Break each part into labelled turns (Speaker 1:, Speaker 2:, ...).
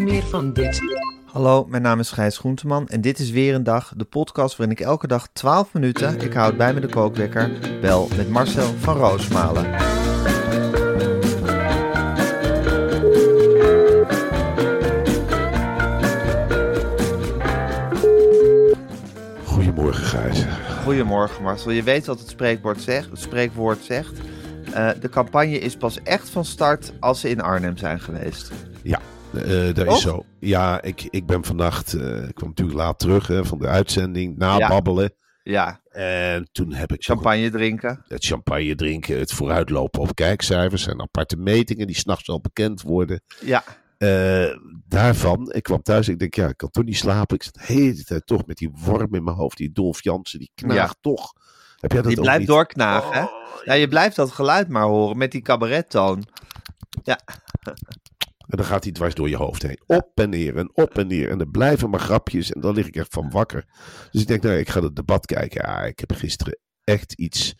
Speaker 1: Meer van dit.
Speaker 2: Hallo, mijn naam is Gijs Groenteman en dit is weer een dag, de podcast waarin ik elke dag 12 minuten, ik houd bij me de kookwekker, bel met Marcel van Roosmalen.
Speaker 3: Goedemorgen, Gijs.
Speaker 2: Goedemorgen Marcel, je weet wat het spreekwoord zegt. Het spreekwoord zegt. Eh, de campagne is pas echt van start als ze in Arnhem zijn geweest.
Speaker 3: Ja, eh, dat
Speaker 2: Oh.
Speaker 3: is zo. Ja, ik, ik ben vannacht, eh, ik kwam natuurlijk laat terug hè, van de uitzending, nababbelen.
Speaker 2: Ja,
Speaker 3: En toen heb ik
Speaker 2: champagne drinken.
Speaker 3: het champagne drinken, het vooruitlopen op kijkcijfers en aparte metingen die s'nachts al bekend worden.
Speaker 2: Ja,
Speaker 3: Eh, daarvan, ik kwam thuis ik denk, ja, ik kan toch niet slapen. Ik zat de hele tijd toch met die worm in mijn hoofd, die Dolf Jansen, die knaagt toch. Heb jij dat
Speaker 2: die
Speaker 3: ook
Speaker 2: blijft
Speaker 3: niet?
Speaker 2: doorknagen. hè? Ja, je blijft dat geluid maar horen met die cabarettoon.
Speaker 3: En dan gaat hij dwars door je hoofd heen. Op en neer en op en neer. En er blijven maar grapjes. En dan lig ik echt van wakker. Dus ik denk, nou, ik ga het debat kijken. Ja, ik heb gisteren echt iets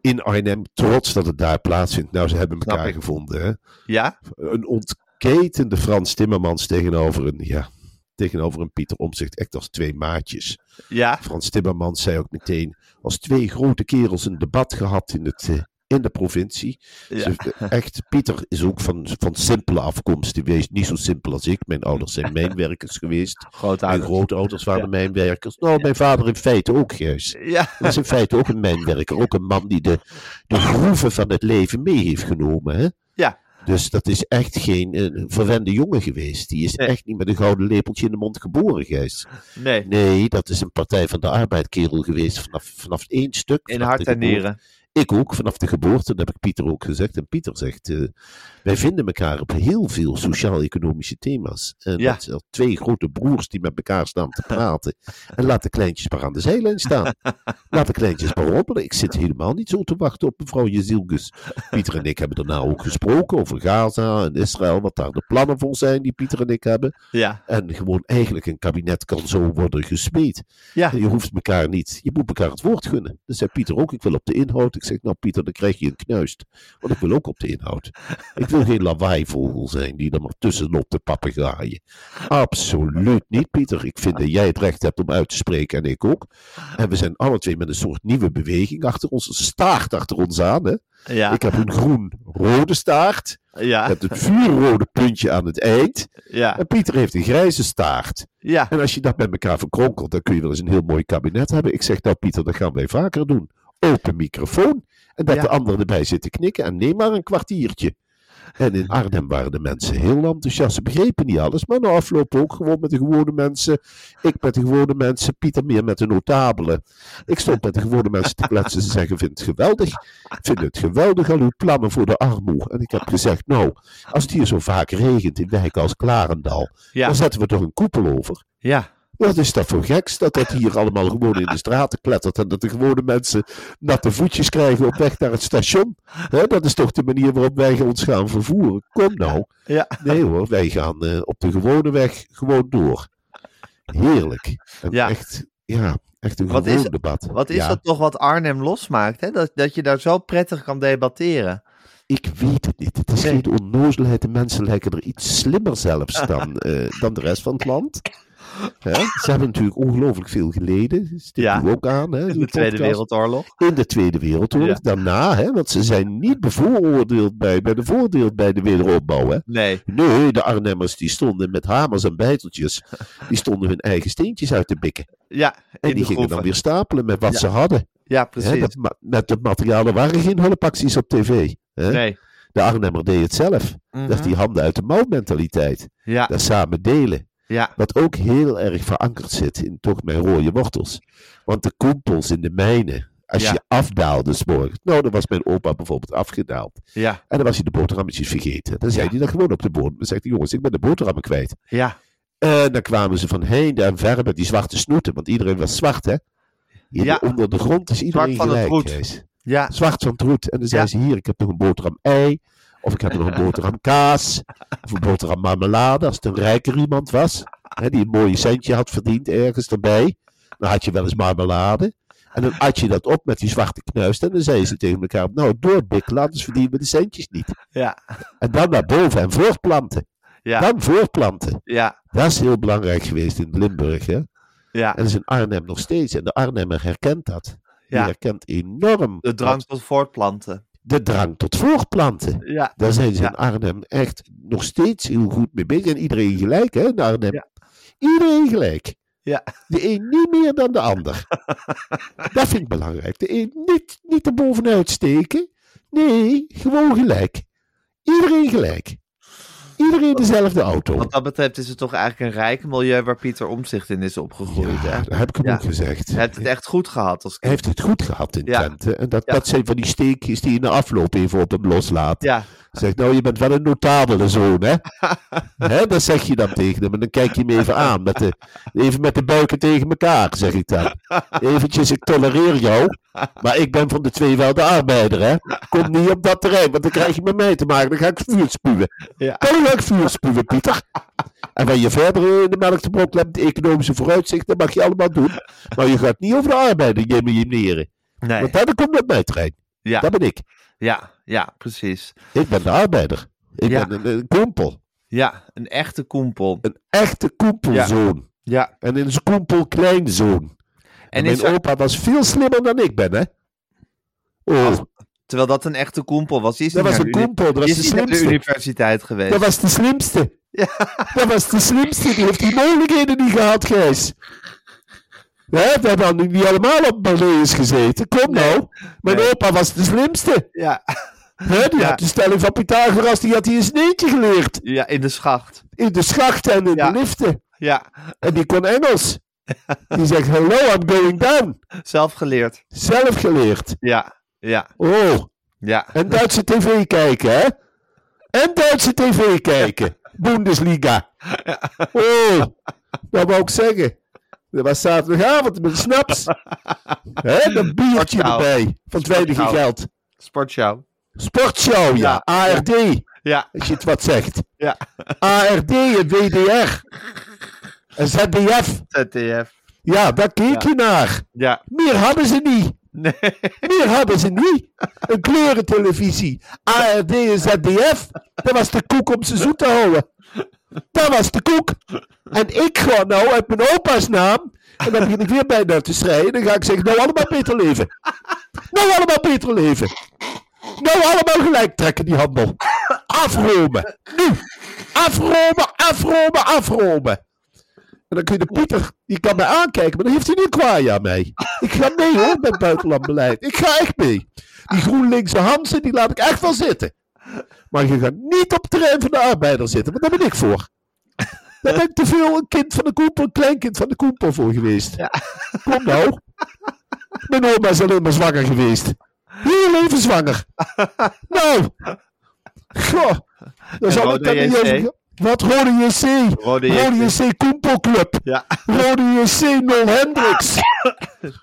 Speaker 3: in Arnhem. Trots dat het daar plaatsvindt. Nou, ze hebben
Speaker 2: Snap
Speaker 3: elkaar
Speaker 2: ik.
Speaker 3: gevonden. Hè?
Speaker 2: Ja,
Speaker 3: Een ontketende Frans Timmermans tegenover een, ja, tegenover een Pieter Omtzigt. Echt als twee maatjes.
Speaker 2: ja.
Speaker 3: Frans Timmermans zei ook meteen, als twee grote kerels een debat gehad in het... eh, in de provincie.
Speaker 2: Ja.
Speaker 3: Ze- echt, Pieter is ook van, van simpele afkomst geweest. Niet zo simpel als ik. Mijn ouders zijn mijnwerkers geweest. Mijn
Speaker 2: Grootouders.
Speaker 3: grootouders waren mijnwerkers. Nou, mijn vader in feite ook, Gijs.
Speaker 2: Ja,
Speaker 3: Dat is in feite ook een mijnwerker. Ook een man die de, de groeven van het leven mee heeft genomen. Hè?
Speaker 2: ja.
Speaker 3: Dus dat is echt geen eh, verwende jongen geweest. Die is
Speaker 2: Nee.
Speaker 3: echt niet met een gouden lepeltje in de mond geboren, Gijs.
Speaker 2: Nee,
Speaker 3: Nee, dat is een Partij van de Arbeidkerel geweest vanaf, vanaf één stuk.
Speaker 2: in
Speaker 3: vanaf
Speaker 2: hart
Speaker 3: de
Speaker 2: en
Speaker 3: geboorte.
Speaker 2: nieren.
Speaker 3: Ik ook, vanaf de geboorte, dat heb ik Pieter ook gezegd. En Pieter zegt, eh, wij vinden elkaar op heel veel sociaal-economische thema's. En
Speaker 2: Ja.
Speaker 3: dat zijn twee grote broers die met elkaar staan te praten. en laat de kleintjes maar aan de zijlijn staan. laat de kleintjes maar rommelen. Ik zit helemaal niet zo te wachten op mevrouw Jezilgus. Pieter en ik hebben daarna ook gesproken over Gaza en Israël. Wat daar de plannen voor zijn die Pieter en ik hebben.
Speaker 2: Ja,
Speaker 3: En gewoon eigenlijk een kabinet kan zo worden gesmeed.
Speaker 2: ja.
Speaker 3: Je hoeft elkaar niet, je moet elkaar het woord gunnen. Dat zei Pieter ook, ik wil op de inhoud. Ik zeg, nou Pieter, dan krijg je een knuist. Want ik wil ook op de inhoud. Ik wil geen lawaaivogel zijn die er maar tussenloopt te papegaaien. Absoluut niet, Pieter. Ik vind dat jij het recht hebt om uit te spreken en ik ook. En we zijn alle twee met een soort nieuwe beweging achter ons. Een staart achter ons aan, hè.
Speaker 2: Ja,
Speaker 3: Ik heb een groen-rode staart. Ik
Speaker 2: ja,
Speaker 3: heb het vuurrode puntje aan het eind.
Speaker 2: ja,
Speaker 3: En Pieter heeft een grijze staart.
Speaker 2: ja.
Speaker 3: En als je dat met elkaar verkronkelt, dan kun je wel eens een heel mooi kabinet hebben. Ik zeg, nou Pieter, dat gaan wij vaker doen. Open microfoon. En dat
Speaker 2: Ja.
Speaker 3: de anderen erbij zitten knikken. En neem maar een kwartiertje. En in Arnhem waren de mensen heel enthousiast. Ze begrepen niet alles, maar na afloop ook gewoon met de gewone mensen. Ik met de gewone mensen, Pieter meer met de notabelen. Ik stond met de gewone mensen te kletsen. Ze zeggen, vind het geweldig. Ik vind het geweldig, al uw plannen voor de armoe. En ik heb gezegd, nou, als het hier zo vaak regent in wijken als Klarendal,
Speaker 2: Ja,
Speaker 3: dan zetten we toch een koepel over.
Speaker 2: ja.
Speaker 3: Wat is dat voor geks dat dat hier allemaal gewoon in de straten klettert en dat de gewone mensen natte voetjes krijgen op weg naar het station? Hè, dat is toch de manier waarop wij ons gaan vervoeren? Kom nou.
Speaker 2: Ja.
Speaker 3: Nee hoor, wij gaan eh, op de gewone weg gewoon door. Heerlijk. En
Speaker 2: Ja.
Speaker 3: Echt, ja, echt een
Speaker 2: Wat
Speaker 3: gewoon
Speaker 2: is-
Speaker 3: debat.
Speaker 2: Wat is
Speaker 3: Ja,
Speaker 2: dat toch wat Arnhem losmaakt, hè? Dat, dat je daar zo prettig kan debatteren.
Speaker 3: Ik weet het niet. Het is
Speaker 2: Nee.
Speaker 3: geen onnozelheid. De mensen lijken er iets slimmer zelfs dan, eh, dan de rest van het land. Hè? Ze hebben natuurlijk ongelooflijk veel geleden. Stipt
Speaker 2: Ja.
Speaker 3: u ook aan. Hè,
Speaker 2: In
Speaker 3: zo'n
Speaker 2: de Tweede
Speaker 3: podcast.
Speaker 2: Wereldoorlog.
Speaker 3: In de Tweede Wereldoorlog.
Speaker 2: Ja.
Speaker 3: Daarna, hè, want ze zijn niet bevooroordeeld bij, bij de voordeel bij de wederopbouw. Hè.
Speaker 2: Nee.
Speaker 3: Nee, de Arnhemmers die stonden met hamers en bijteltjes. Die stonden hun eigen steentjes uit te bikken.
Speaker 2: Ja, in
Speaker 3: En die
Speaker 2: de
Speaker 3: gingen
Speaker 2: groeven.
Speaker 3: dan weer stapelen met wat
Speaker 2: Ja.
Speaker 3: ze hadden.
Speaker 2: Ja,
Speaker 3: Hè,
Speaker 2: precies.
Speaker 3: dat, ma- met de materialen waren geen hulpacties op tv. Hè.
Speaker 2: Nee.
Speaker 3: De Arnhemmer deed het zelf. Dat is
Speaker 2: Mhm.
Speaker 3: die handen uit de mouw mentaliteit.
Speaker 2: Ja,
Speaker 3: Dat samen delen.
Speaker 2: ja,
Speaker 3: Wat ook heel erg verankerd zit in toch mijn rode wortels. Want de koempels in de mijnen. Als
Speaker 2: Ja.
Speaker 3: je afdaalde s'morgens. Nou, dan was mijn opa bijvoorbeeld afgedaald.
Speaker 2: ja,
Speaker 3: En dan was hij de boterhammetjes vergeten. Dan zei
Speaker 2: Ja.
Speaker 3: hij dan gewoon op de bodem. Dan zegt hij, jongens, ik ben de boterhammen kwijt.
Speaker 2: ja.
Speaker 3: En dan kwamen ze van heinde en verre met die zwarte snoeten. Want iedereen was zwart, hè? In
Speaker 2: Ja.
Speaker 3: de, onder de grond is iedereen
Speaker 2: van het
Speaker 3: gelijk.
Speaker 2: roet.
Speaker 3: Gijs.
Speaker 2: ja.
Speaker 3: Zwart van het roet. En dan zei
Speaker 2: Ja.
Speaker 3: ze, hier, ik heb nog een boterham ei. Of ik heb nog een boterham kaas. Of een boterham marmelade, als het een rijker iemand was. Hè, die een mooie centje had verdiend ergens erbij. Dan had je wel eens marmelade. En dan at je dat op met die zwarte knuist. En dan zeiden ze tegen elkaar, nou, doorbikkelen, anders verdienen we de centjes niet.
Speaker 2: Ja,
Speaker 3: En dan naar boven en voortplanten.
Speaker 2: ja,
Speaker 3: Dan voortplanten.
Speaker 2: ja,
Speaker 3: Dat is heel belangrijk geweest in Limburg, hè.
Speaker 2: ja.
Speaker 3: En dat is in Arnhem nog steeds. En de Arnhemmer herkent dat. Die
Speaker 2: Ja.
Speaker 3: herkent enorm
Speaker 2: De drang tot voortplanten.
Speaker 3: de drang tot voortplanten.
Speaker 2: Ja,
Speaker 3: Daar zijn ze
Speaker 2: Ja.
Speaker 3: in Arnhem echt nog steeds heel goed mee bezig. En iedereen gelijk, hè, in Arnhem.
Speaker 2: Ja.
Speaker 3: Iedereen gelijk.
Speaker 2: Ja.
Speaker 3: De een niet meer dan de ander. dat vind ik belangrijk. De een niet, niet erbovenuit steken. Nee, gewoon gelijk. Iedereen gelijk. Iedereen dezelfde auto.
Speaker 2: wat dat betreft is het toch eigenlijk een rijk milieu waar Pieter Omzicht in is opgegroeid. hè?
Speaker 3: Ja, dat heb ik hem
Speaker 2: Ja.
Speaker 3: ook gezegd.
Speaker 2: Hij heeft het echt goed gehad als
Speaker 3: Hij
Speaker 2: kind.
Speaker 3: heeft het goed gehad in
Speaker 2: Ja.
Speaker 3: Twente. En dat,
Speaker 2: Ja.
Speaker 3: dat zijn van die steekjes die je na afloop even op hem loslaat.
Speaker 2: Ja,
Speaker 3: Zegt, nou, je bent wel een notabele zoon, hè? hè? Dat zeg je dan tegen hem. En dan kijk je hem even aan. Met de, even met de buiken tegen elkaar, zeg ik dan. Eventjes, ik tolereer jou. Maar ik ben van de twee wel de arbeider, hè? Kom niet op dat terrein, want dan krijg je met mij te maken. Dan ga ik vuur spuwen.
Speaker 2: Ja.
Speaker 3: Dan ga ik vuur spuwen, Pieter. En wat je verder in de melk te brokkelen hebt, de economische vooruitzichten, dat mag je allemaal doen. Maar je gaat niet over de arbeider jemineren.
Speaker 2: nee.
Speaker 3: Want dat komt op mijn terrein.
Speaker 2: Ja.
Speaker 3: Dat ben ik.
Speaker 2: Ja, ja, precies.
Speaker 3: Ik ben de arbeider. Ik
Speaker 2: Ja.
Speaker 3: ben een, een kompel.
Speaker 2: Ja, een echte koempel.
Speaker 3: Een echte koempelzoon.
Speaker 2: Ja.
Speaker 3: En een koempelkleinzoon.
Speaker 2: En
Speaker 3: En
Speaker 2: is
Speaker 3: mijn
Speaker 2: er-
Speaker 3: opa was veel slimmer dan ik ben, hè? Oh,
Speaker 2: Ach, terwijl dat een echte koempel was. Die is
Speaker 3: dat
Speaker 2: niet
Speaker 3: was
Speaker 2: naar
Speaker 3: een
Speaker 2: de uni-
Speaker 3: koempel. Dat
Speaker 2: die
Speaker 3: was
Speaker 2: is niet
Speaker 3: de
Speaker 2: naar de
Speaker 3: slimste.
Speaker 2: universiteit geweest.
Speaker 3: Dat was de slimste.
Speaker 2: Ja.
Speaker 3: Dat was de slimste. Die heeft die mogelijkheden niet gehad, Gijs. Hè, we hebben nu niet allemaal op Barneus gezeten. Kom
Speaker 2: Nee.
Speaker 3: nou. Mijn
Speaker 2: Nee.
Speaker 3: opa was de slimste.
Speaker 2: Ja.
Speaker 3: Hè, die
Speaker 2: Ja.
Speaker 3: had de stelling van Pythagoras, die had hij in zijn eentje geleerd.
Speaker 2: ja, in de schacht.
Speaker 3: In de schachten en in
Speaker 2: Ja.
Speaker 3: de liften.
Speaker 2: Ja,
Speaker 3: En die kon Engels. Die zegt, hello, I'm going down.
Speaker 2: zelf geleerd.
Speaker 3: Zelf geleerd.
Speaker 2: Ja, ja,
Speaker 3: Oh,
Speaker 2: ja.
Speaker 3: en Duitse tv kijken, hè? En Duitse tv kijken. Bundesliga. Oh, dat wou ik zeggen. Dat was zaterdagavond met snaps. Hè, dat biertje
Speaker 2: Sportschouw.
Speaker 3: erbij. Van het weinige
Speaker 2: Sportschouw.
Speaker 3: geld.
Speaker 2: Sportshow.
Speaker 3: Sportshow, ja.
Speaker 2: Ja.
Speaker 3: ARD,
Speaker 2: Ja,
Speaker 3: als je het wat zegt.
Speaker 2: ja.
Speaker 3: ARD en WDR. En ZDF.
Speaker 2: ZDF.
Speaker 3: Ja, daar keek je naar.
Speaker 2: Ja.
Speaker 3: Meer hadden ze niet.
Speaker 2: Nee.
Speaker 3: Meer hadden ze niet. Een kleurentelevisie. ARD en ZDF. Dat was de koek om ze zoet te houden. Dat was de koek. En ik ga nou uit mijn opa's naam. En dan begin ik weer bijna te schrijven. Dan ga ik zeggen, nou allemaal beter leven. Nou allemaal beter leven. Nou allemaal gelijk trekken die handel. Afromen. Nu. Afromen, afromen, afromen. En dan kun je de Pieter, die kan mij aankijken, maar dan heeft hij nu een kwaai aan mij. Ik ga mee hoor, met buitenlandbeleid. Ik ga echt mee. Die GroenLinkse Hansen, die laat ik echt wel zitten. Maar je gaat niet op het terrein van de arbeider zitten, want daar ben ik voor. Daar ben ik te veel een kind van de koepel, een kleinkind van de koepel voor geweest. Kom nou. Mijn oma is alleen maar zwanger geweest. Heel even zwanger. Nou. Goh. Dan zal ik
Speaker 2: Rode
Speaker 3: dat niet
Speaker 2: JC?
Speaker 3: even... Wat Rode JC?
Speaker 2: Rode
Speaker 3: Rode
Speaker 2: JC.
Speaker 3: JC Koempelclub.
Speaker 2: Ja.
Speaker 3: Rode JC Nol Hendricks.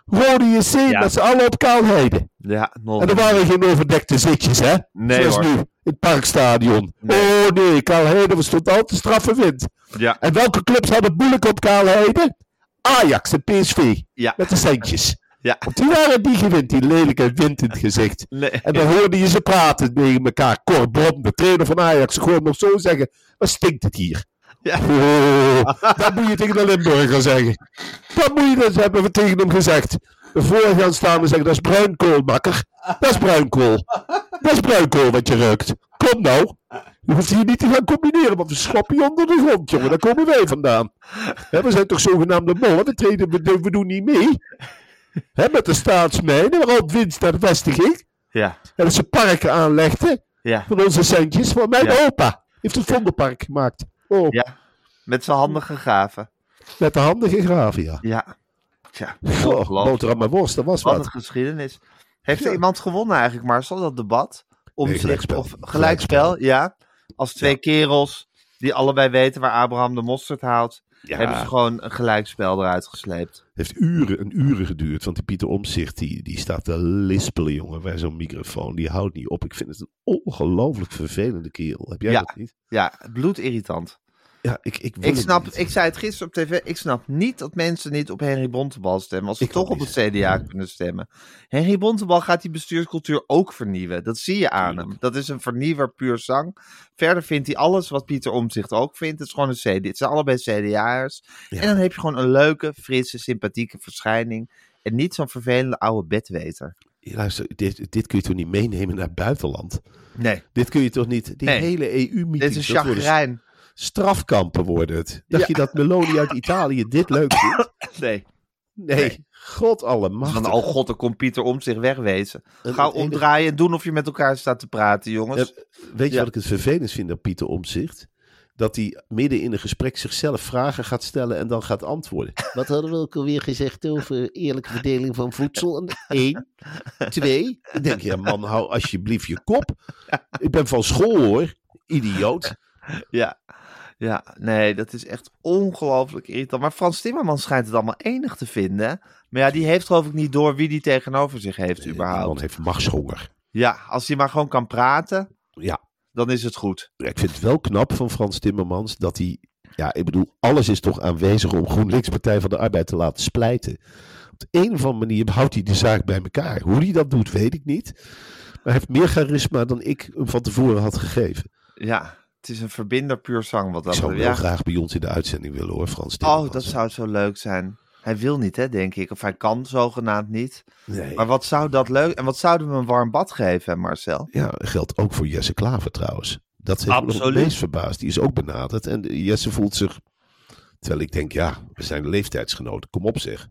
Speaker 3: Rode JC
Speaker 2: Ja.
Speaker 3: met z'n allen op Kaalheide.
Speaker 2: Ja, nog.
Speaker 3: En er waren geen overdekte zitjes, hè?
Speaker 2: Nee,
Speaker 3: Zoals
Speaker 2: hoor.
Speaker 3: nu, in het parkstadion.
Speaker 2: Nee.
Speaker 3: Oh nee, Kaalheide was tot al te straffe wind.
Speaker 2: Ja,
Speaker 3: En welke clubs hadden het moeilijk op Kaalheide? Ajax en PSV.
Speaker 2: Ja.
Speaker 3: Met de centjes.
Speaker 2: ja.
Speaker 3: Want die waren die gewend, die lelijke wind in het gezicht.
Speaker 2: Nee.
Speaker 3: En dan hoorde je ze praten tegen elkaar. Cor Brom, de trainer van Ajax, gewoon nog zo zeggen. Wat stinkt het hier?
Speaker 2: Ja.
Speaker 3: Oh, dat moet je tegen de Limburger zeggen. Dat moet je, dat hebben we tegen hem gezegd. Voor gaan staan en zeggen, dat is bruinkool, makker. Dat is bruinkool. Dat is bruinkool wat je ruikt. Kom nou. Je hoeft hier niet te gaan combineren, want we schoppen je onder de grond, jongen. Daar komen wij vandaan. Hè, we zijn toch zogenaamde mollen. We, treden, we, doen- we doen niet mee. Hè, met de staatsmijnen, waarop winst naar de vestiging.
Speaker 2: Ja.
Speaker 3: En dat ze parken aanlegden
Speaker 2: Ja.
Speaker 3: van onze centjes. Van mijn
Speaker 2: Ja.
Speaker 3: opa heeft een vondelpark gemaakt. Oh,
Speaker 2: ja. Met zijn handen gegraven.
Speaker 3: met de handen gegraven, ja. Oh,
Speaker 2: Ja. Tja.
Speaker 3: Goh,
Speaker 2: ongelooflijk.
Speaker 3: boterham en worst, dat was
Speaker 2: Wat
Speaker 3: wat.
Speaker 2: een geschiedenis. Heeft
Speaker 3: Ja.
Speaker 2: er iemand gewonnen eigenlijk, Marcel, dat debat? Om
Speaker 3: Nee,
Speaker 2: zich-
Speaker 3: gelijkspel.
Speaker 2: Of gelijkspel, ja. Als twee kerels die allebei weten waar Abraham de mosterd haalt,
Speaker 3: Ja.
Speaker 2: hebben ze gewoon een gelijkspel eruit gesleept.
Speaker 3: heeft uren en uren geduurd, want die Pieter Omzicht die, die staat te lispelen, jongen, bij zo'n microfoon. Die houdt niet op. Ik vind het een ongelooflijk vervelende kerel. Heb jij
Speaker 2: Ja.
Speaker 3: dat niet?
Speaker 2: Ja, bloedirritant.
Speaker 3: Ja, ik, ik, wil
Speaker 2: Ik,
Speaker 3: het
Speaker 2: snap,
Speaker 3: niet.
Speaker 2: ik zei het gisteren op tv, ik snap niet dat mensen niet op Henry Bontebal stemmen. Als ze
Speaker 3: Ik
Speaker 2: toch
Speaker 3: ook
Speaker 2: op het
Speaker 3: niet.
Speaker 2: CDA kunnen stemmen. Henry Bontebal gaat die bestuurscultuur ook vernieuwen. Dat zie je aan hem. Dat is een vernieuwer puur zang. Verder vindt hij alles wat Pieter Omtzigt ook vindt. Het is gewoon een CD. Het zijn allebei CDA'ers.
Speaker 3: Ja.
Speaker 2: En dan heb je gewoon een leuke, frisse, sympathieke verschijning. En niet zo'n vervelende oude bedweter.
Speaker 3: Luister, dit, dit kun je toch niet meenemen naar het buitenland?
Speaker 2: Nee,
Speaker 3: Dit kun je toch niet... Die
Speaker 2: Nee.
Speaker 3: hele
Speaker 2: dit is
Speaker 3: EU-meetings, dat worden
Speaker 2: chagrijn.
Speaker 3: strafkampen worden het. Dacht
Speaker 2: Ja.
Speaker 3: je dat Meloni uit Italië dit leuk vindt?
Speaker 2: Nee.
Speaker 3: Nee,
Speaker 2: Nee.
Speaker 3: god
Speaker 2: Van,
Speaker 3: allemachtig.
Speaker 2: oh god, dan komt Pieter Omtzigt wegwezen.
Speaker 3: En
Speaker 2: Ga
Speaker 3: het enige-
Speaker 2: omdraaien en doen of je met elkaar staat te praten, jongens.
Speaker 3: Weet je
Speaker 2: Ja.
Speaker 3: wat ik het vervelend vind aan Pieter Omzicht? Dat hij midden in een gesprek zichzelf vragen gaat stellen en dan gaat antwoorden. Wat hadden we ook alweer gezegd over eerlijke verdeling van voedsel? Eén, twee. Ik denk, ja man, hou alsjeblieft je kop. Ik ben van school hoor, idioot.
Speaker 2: Ja. ja, nee, dat is echt ongelooflijk irritant. Maar Frans Timmerman schijnt het allemaal enig te vinden. Maar ja, die heeft geloof ik niet door wie die tegenover zich heeft
Speaker 3: Die
Speaker 2: überhaupt.
Speaker 3: man heeft machtshonger.
Speaker 2: Ja, als hij maar gewoon kan praten,
Speaker 3: Ja,
Speaker 2: dan is het goed.
Speaker 3: ik vind het wel knap van Frans Timmermans dat hij... Ja, ik bedoel, alles is toch aanwezig om GroenLinks Partij van de Arbeid te laten splijten. Op de een of andere manier houdt hij de zaak bij elkaar. Hoe hij dat doet, weet ik niet. Maar hij heeft meer charisma dan ik hem van tevoren had gegeven.
Speaker 2: Ja, het is een verbinder puur zang. Wat
Speaker 3: Ik
Speaker 2: dat
Speaker 3: zou hem
Speaker 2: betreft.
Speaker 3: heel graag bij ons in de uitzending willen hoor, Frans
Speaker 2: ja.
Speaker 3: Timmermans.
Speaker 2: Oh, dat zou zo leuk zijn. Hij wil niet, hè, denk ik. Of hij kan zogenaamd niet.
Speaker 3: Nee.
Speaker 2: Maar wat zou dat leuk... En wat zouden we hem een warm bad geven, hè, Marcel?
Speaker 3: Ja, geldt ook voor Jesse Klaver trouwens. Dat heeft me nog het
Speaker 2: Absoluut.
Speaker 3: meest verbaasd. Die is ook benaderd en eh, Jesse voelt zich... Terwijl ik denk, ja, we zijn leeftijdsgenoten. Kom op zeg.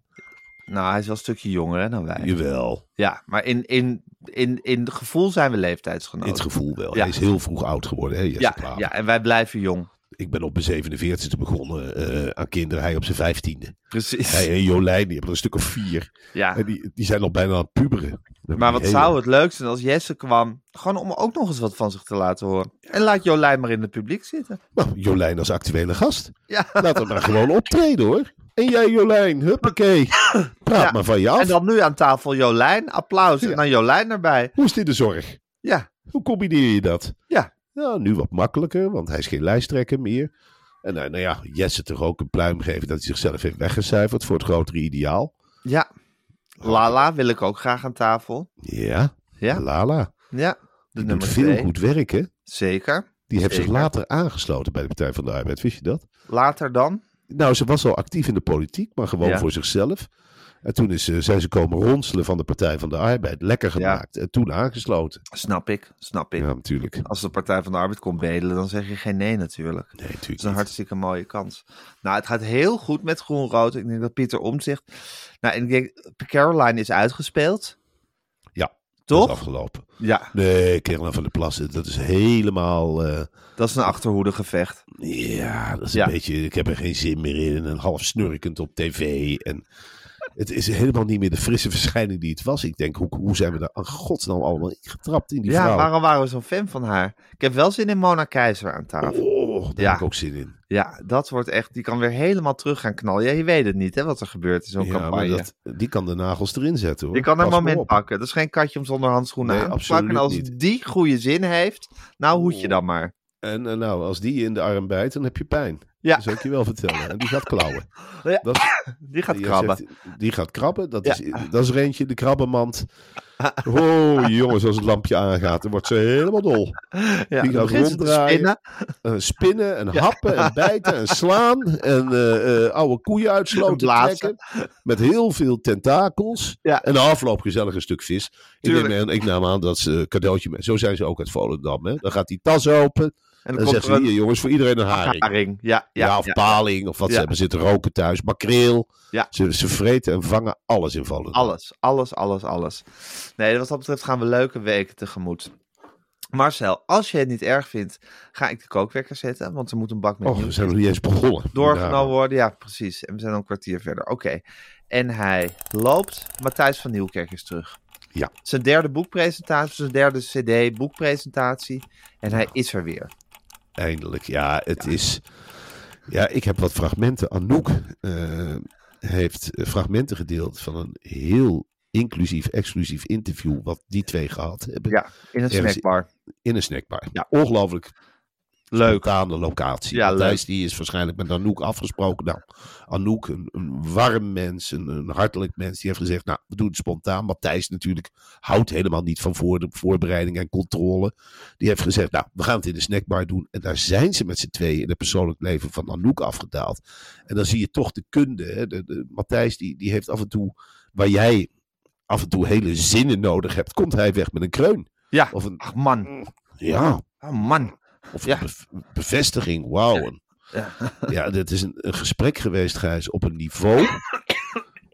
Speaker 2: Nou, hij is wel een stukje jonger hè, dan wij.
Speaker 3: Jawel.
Speaker 2: Ja, maar in, in, in, in het gevoel zijn we leeftijdsgenoten.
Speaker 3: In het gevoel wel.
Speaker 2: Oh. Ja.
Speaker 3: Hij is heel vroeg oud geworden, hè, Jesse
Speaker 2: Ja,
Speaker 3: Klaver.
Speaker 2: ja, en wij blijven jong.
Speaker 3: Ik ben op mijn 47e begonnen eh, aan kinderen. Hij op zijn 15e.
Speaker 2: Precies.
Speaker 3: Hij en Jolijn, die hebben er een stuk of vier.
Speaker 2: ja.
Speaker 3: En die, die zijn al bijna aan het puberen.
Speaker 2: Maar wat zou het leuk zijn als Jesse kwam, gewoon om ook nog eens wat van zich te laten horen. En laat Jolijn maar in het publiek zitten.
Speaker 3: Nou, Jolijn als actuele gast.
Speaker 2: Ja.
Speaker 3: Laat hem maar gewoon optreden hoor. En jij Jolijn, huppakee. Praat
Speaker 2: Ja.
Speaker 3: maar van je af.
Speaker 2: En dan nu aan tafel Jolijn, applaus
Speaker 3: Ja.
Speaker 2: en dan Jolijn erbij.
Speaker 3: Hoe is dit de zorg?
Speaker 2: Ja,
Speaker 3: Hoe combineer je dat?
Speaker 2: Ja.
Speaker 3: Nou, nu wat makkelijker, want hij is geen lijsttrekker meer. En nou, nou ja, Jesse toch ook een pluim geven dat hij zichzelf heeft weggecijferd voor het grotere ideaal.
Speaker 2: ja. Lala wil ik ook graag aan tafel.
Speaker 3: Ja,
Speaker 2: Ja,
Speaker 3: Lala.
Speaker 2: ja. De
Speaker 3: Die doet
Speaker 2: nummer
Speaker 3: veel
Speaker 2: twee.
Speaker 3: goed werk hè.
Speaker 2: Zeker.
Speaker 3: Die heeft zich
Speaker 2: Zeker.
Speaker 3: later aangesloten bij de Partij van de Arbeid, wist je dat?
Speaker 2: Later dan.
Speaker 3: Nou, ze was al actief in de politiek, maar gewoon
Speaker 2: Ja.
Speaker 3: voor zichzelf. En toen is, eh, zijn ze komen ronselen van de Partij van de Arbeid. Lekker gemaakt. En toen aangesloten.
Speaker 2: Snap ik, snap ik.
Speaker 3: Ja, natuurlijk.
Speaker 2: Als de Partij van de Arbeid komt bedelen, dan zeg je geen nee natuurlijk.
Speaker 3: Nee,
Speaker 2: Het is een
Speaker 3: natuurlijk niet.
Speaker 2: hartstikke mooie kans. Nou, het gaat heel goed met groen-rood. Ik denk dat Pieter Omtzigt... Nou, en ik denk, Caroline is uitgespeeld.
Speaker 3: Ja, Dat is
Speaker 2: Toch?
Speaker 3: afgelopen.
Speaker 2: Ja,
Speaker 3: Nee, Kerel van de Plassen, dat is helemaal... eh,
Speaker 2: dat is een achterhoedegevecht.
Speaker 3: ja, dat is
Speaker 2: Ja.
Speaker 3: een beetje... Ik heb er geen zin meer in. En half snurkend op tv. En het is helemaal niet meer de frisse verschijning die het was. Ik denk, hoe, hoe zijn we daar aan godsnaam allemaal ingetrapt in die
Speaker 2: Ja,
Speaker 3: vrouw?
Speaker 2: waarom waren we zo'n fan van haar? Ik heb wel zin in Mona Keizer aan tafel.
Speaker 3: Oh, daar
Speaker 2: Ja.
Speaker 3: heb ik ook zin in.
Speaker 2: Ja, dat wordt echt... Die kan weer helemaal terug gaan knallen. Ja, je weet het niet, hè, wat er gebeurt in zo'n
Speaker 3: Ja, maar
Speaker 2: campagne.
Speaker 3: dat- die kan de nagels erin zetten hoor.
Speaker 2: Je kan een
Speaker 3: Pas maar
Speaker 2: moment
Speaker 3: op.
Speaker 2: pakken. Dat is geen katje om zonder handschoenen
Speaker 3: Nee,
Speaker 2: aan te
Speaker 3: absoluut
Speaker 2: pakken. En als
Speaker 3: niet.
Speaker 2: die goede zin heeft, nou hoed je dan maar.
Speaker 3: En eh, nou, als die je in de arm bijt, dan heb je pijn.
Speaker 2: Ja.
Speaker 3: Dat zou ik je wel vertellen. En die gaat klauwen.
Speaker 2: Ja.
Speaker 3: Dat,
Speaker 2: Die gaat
Speaker 3: die
Speaker 2: krabben.
Speaker 3: zegt- die gaat krabben. Dat,
Speaker 2: Ja.
Speaker 3: is, dat is er eentje, de krabbenmand. Oh, jongens, als het lampje aangaat, dan wordt ze helemaal dol.
Speaker 2: ja,
Speaker 3: die
Speaker 2: dan
Speaker 3: gaat
Speaker 2: begint ze te
Speaker 3: ronddraaien.
Speaker 2: spinnen.
Speaker 3: Eh, spinnen en happen en bijten en slaan. En eh, eh, oude koeien
Speaker 2: En
Speaker 3: uitsloten
Speaker 2: blazen.
Speaker 3: trekken. Met heel veel tentakels.
Speaker 2: Ja.
Speaker 3: En de afloop gezellig een stuk vis. Ik
Speaker 2: Tuurlijk.
Speaker 3: neem, aan- ik neem aan dat ze een cadeautje... Met, zo zijn ze ook uit Volendam. Hè? Dan gaat die tas open.
Speaker 2: En
Speaker 3: En
Speaker 2: dan
Speaker 3: dan
Speaker 2: komt
Speaker 3: zegt
Speaker 2: er
Speaker 3: ze,
Speaker 2: een
Speaker 3: hier jongens, voor iedereen een haring.
Speaker 2: haring. Ja,
Speaker 3: Ja,
Speaker 2: ja,
Speaker 3: of
Speaker 2: ja.
Speaker 3: paling, of wat ze
Speaker 2: Ja.
Speaker 3: hebben zitten roken thuis. Makreel.
Speaker 2: Ja.
Speaker 3: Ze, ze vreten en vangen alles in Volendam.
Speaker 2: Alles, alles, alles, alles. Nee, wat dat betreft gaan we leuke weken tegemoet. Marcel, als je het niet erg vindt, ga ik de kookwekker zetten. Want er moet een bak met
Speaker 3: Oh, we
Speaker 2: nieuws
Speaker 3: zijn nog niet eens begonnen.
Speaker 2: doorgenomen
Speaker 3: Ja.
Speaker 2: worden. Ja, precies. En we zijn al een kwartier verder. Oké. En hij loopt. Matthijs van Nieuwkerk is terug.
Speaker 3: Ja.
Speaker 2: Zijn derde boekpresentatie, zijn derde CD-boekpresentatie. En hij is er weer.
Speaker 3: Eindelijk, ja, het is... Ja, ik heb wat fragmenten. Anouk eh, heeft eh, fragmenten gedeeld van een heel inclusief, exclusief interview... wat die twee gehad hebben
Speaker 2: Ja, in een
Speaker 3: Ergens-
Speaker 2: snackbar.
Speaker 3: in een snackbar.
Speaker 2: Ja.
Speaker 3: Ongelooflijk
Speaker 2: Leuk.
Speaker 3: aan de locatie.
Speaker 2: Ja, leuk.
Speaker 3: Matthijs, die is waarschijnlijk met Anouk afgesproken. Nou, Anouk, een, een warm mens, een, een hartelijk mens, die heeft gezegd: Nou, we doen het spontaan. Matthijs natuurlijk houdt helemaal niet van voor, voorbereiding en controle. Die heeft gezegd: Nou, we gaan het in de snackbar doen. En daar zijn ze met z'n tweeën in het persoonlijk leven van Anouk afgedaald. En dan zie je toch de kunde. Hè? De, de, Matthijs, die, die heeft af en toe, waar jij af en toe hele zinnen nodig hebt, komt hij weg met een kreun.
Speaker 2: Ja.
Speaker 3: Of een,
Speaker 2: Ach man.
Speaker 3: ja,
Speaker 2: Oh man.
Speaker 3: of
Speaker 2: Ja.
Speaker 3: bev- bevestiging, wauw. En-
Speaker 2: Ja.
Speaker 3: Ja, dit is een, een gesprek geweest, Gijs, op een niveau.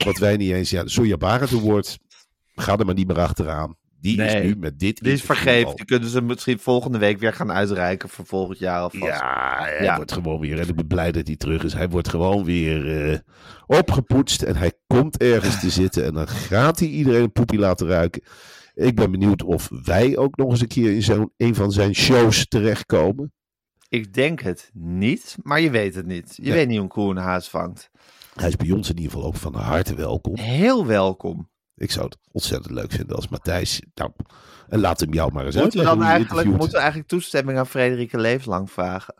Speaker 3: wat wij niet eens. Ja, Sonja Barend Award. Ga er maar niet meer achteraan. Die
Speaker 2: Nee.
Speaker 3: is nu met dit.
Speaker 2: Die is
Speaker 3: interview
Speaker 2: vergeven.
Speaker 3: al-
Speaker 2: Die kunnen ze misschien volgende week weer gaan uitreiken voor volgend jaar alvast.
Speaker 3: Ja, hij
Speaker 2: Ja.
Speaker 3: wordt gewoon weer. En ik ben blij dat hij terug is. Hij wordt gewoon weer eh, opgepoetst. En hij komt ergens te zitten. En dan gaat hij iedereen een poepie laten ruiken. Ik ben benieuwd of wij ook nog eens een keer in zo'n, een van zijn shows terechtkomen.
Speaker 2: Ik denk het niet, maar je weet het niet. Je
Speaker 3: Nee.
Speaker 2: weet niet hoe een koe een haas vangt.
Speaker 3: Hij is bij ons in ieder geval ook van harte welkom.
Speaker 2: Heel welkom.
Speaker 3: Ik zou het ontzettend leuk vinden als Matthijs. Nou, en laat hem jou maar eens
Speaker 2: Moeten we
Speaker 3: uitleggen
Speaker 2: dan
Speaker 3: hoe je
Speaker 2: eigenlijk,
Speaker 3: interviewt.
Speaker 2: moeten we eigenlijk toestemming aan Frederike Leeflang vragen?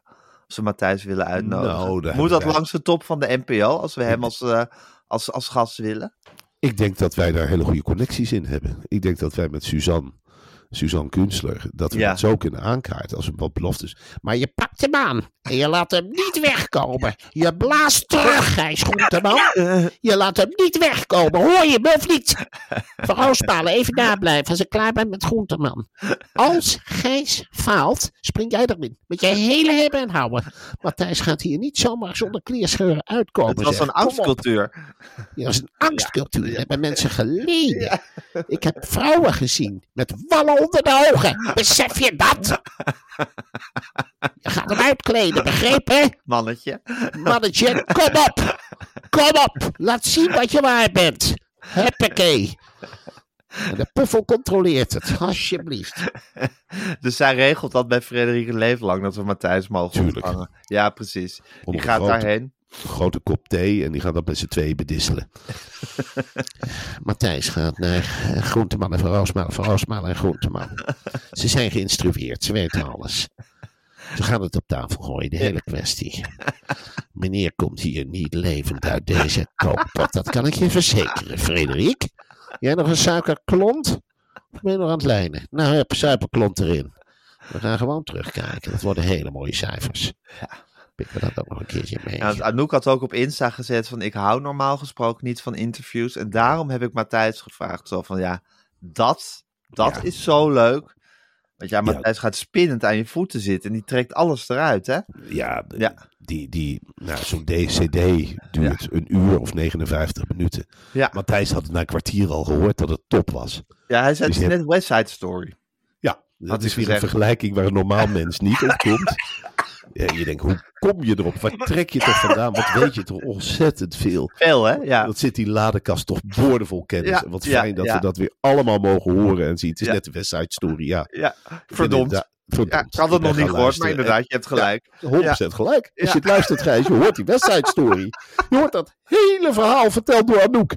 Speaker 2: Als we Matthijs willen uitnodigen.
Speaker 3: Nou, daar
Speaker 2: Moet dat
Speaker 3: hebben wij-
Speaker 2: langs de top van de NPO als we hem als, eh, als, als gast
Speaker 3: Oh,
Speaker 2: willen?
Speaker 3: Ik denk dat wij daar hele goede connecties in hebben. Ik denk dat wij met Suzanne, Suzanne Kunstler, dat we
Speaker 2: Ja.
Speaker 3: dat zo kunnen aankaarten als een wat beloftes. Maar je pakt hem aan en je laat hem niet wegkomen. Je blaast terug, Gijs Groenteman. Je laat hem niet wegkomen. Hoor je me of niet? Vooruitspalen, even nablijven als ik klaar ben met Groenteman. Als Gijs faalt, spring jij erin. Met je hele hebben en houden. Matthijs gaat hier niet zomaar zonder kleerscheuren uitkomen.
Speaker 2: Het was
Speaker 3: zeg.
Speaker 2: een
Speaker 3: Kom op.
Speaker 2: angstcultuur.
Speaker 3: Ja, dat is een angstcultuur. Daar hebben mensen geleden. Ik heb vrouwen gezien met wallen onder de ogen. Besef je dat? Je gaat hem uitkleden, begrepen?
Speaker 2: Mannetje.
Speaker 3: Mannetje, kom op. Kom op. Laat zien wat je waar bent. Huppakee. En de puffel controleert het, alsjeblieft.
Speaker 2: Dus zij regelt dat bij Frederike Leeflang, dat we Matthijs mogen
Speaker 3: Tuurlijk.
Speaker 2: ontvangen. Ja, precies.
Speaker 3: Om
Speaker 2: Die
Speaker 3: een
Speaker 2: gaat
Speaker 3: grote-
Speaker 2: daarheen.
Speaker 3: grote kop thee en die gaan dat met z'n tweeën bedisselen. Matthijs gaat naar eh, Groenteman en Van Roosmalen, Van Roosmalen en Groenteman. Ze zijn geïnstrueerd, ze weten alles. Ze gaan het op tafel gooien, de hele kwestie. Meneer komt hier niet levend uit deze kooppot, dat kan ik je verzekeren, Frederik. Jij nog een suikerklont? Of ben je nog aan het lijnen? Nou, heb suikerklont erin. We gaan gewoon terugkijken, dat worden hele mooie cijfers. Pikken we dat ook nog een keertje mee.
Speaker 2: Ja, want Anouk had ook op Insta gezet van ik hou normaal gesproken niet van interviews. En daarom heb ik Matthijs gevraagd. Zo van ja, dat, dat
Speaker 3: Ja.
Speaker 2: is zo leuk. Want ja, Matthijs gaat spinnend aan je voeten zitten en die trekt alles eruit, hè?
Speaker 3: Ja, de-
Speaker 2: Ja.
Speaker 3: Die, die, nou, zo'n DCD duurt een uur of 59 minuten.
Speaker 2: Ja,
Speaker 3: Matthijs had na een kwartier al gehoord dat het top was.
Speaker 2: ja hij zei
Speaker 3: Dus
Speaker 2: het
Speaker 3: je
Speaker 2: is net West Side Story.
Speaker 3: Ja, dat
Speaker 2: hij
Speaker 3: is weer een
Speaker 2: gezegd.
Speaker 3: vergelijking waar een normaal mens niet op komt. Ja, je denkt, hoe kom je erop? Waar trek je toch vandaan? Wat weet je toch ontzettend veel?
Speaker 2: Veel, hè? Ja.
Speaker 3: Dat zit die ladekast toch boordevol kennis.
Speaker 2: Ja,
Speaker 3: en wat
Speaker 2: ja,
Speaker 3: fijn dat
Speaker 2: ja.
Speaker 3: we dat weer allemaal mogen horen en zien. Het is
Speaker 2: Ja.
Speaker 3: net de West Side Story, ja.
Speaker 2: ja,
Speaker 3: Ik vind
Speaker 2: verdomd.
Speaker 3: inderdaad-
Speaker 2: Ja,
Speaker 3: Verdomd.
Speaker 2: ik had het
Speaker 3: Ik ben
Speaker 2: nog niet
Speaker 3: gaan
Speaker 2: gehoord, maar
Speaker 3: luisteren.
Speaker 2: inderdaad, je hebt gelijk.
Speaker 3: 100% gelijk. Als
Speaker 2: Ja.
Speaker 3: je het luistert, Gijs, je hoort die wedstrijdstory. Je hoort dat hele verhaal verteld door Anouk.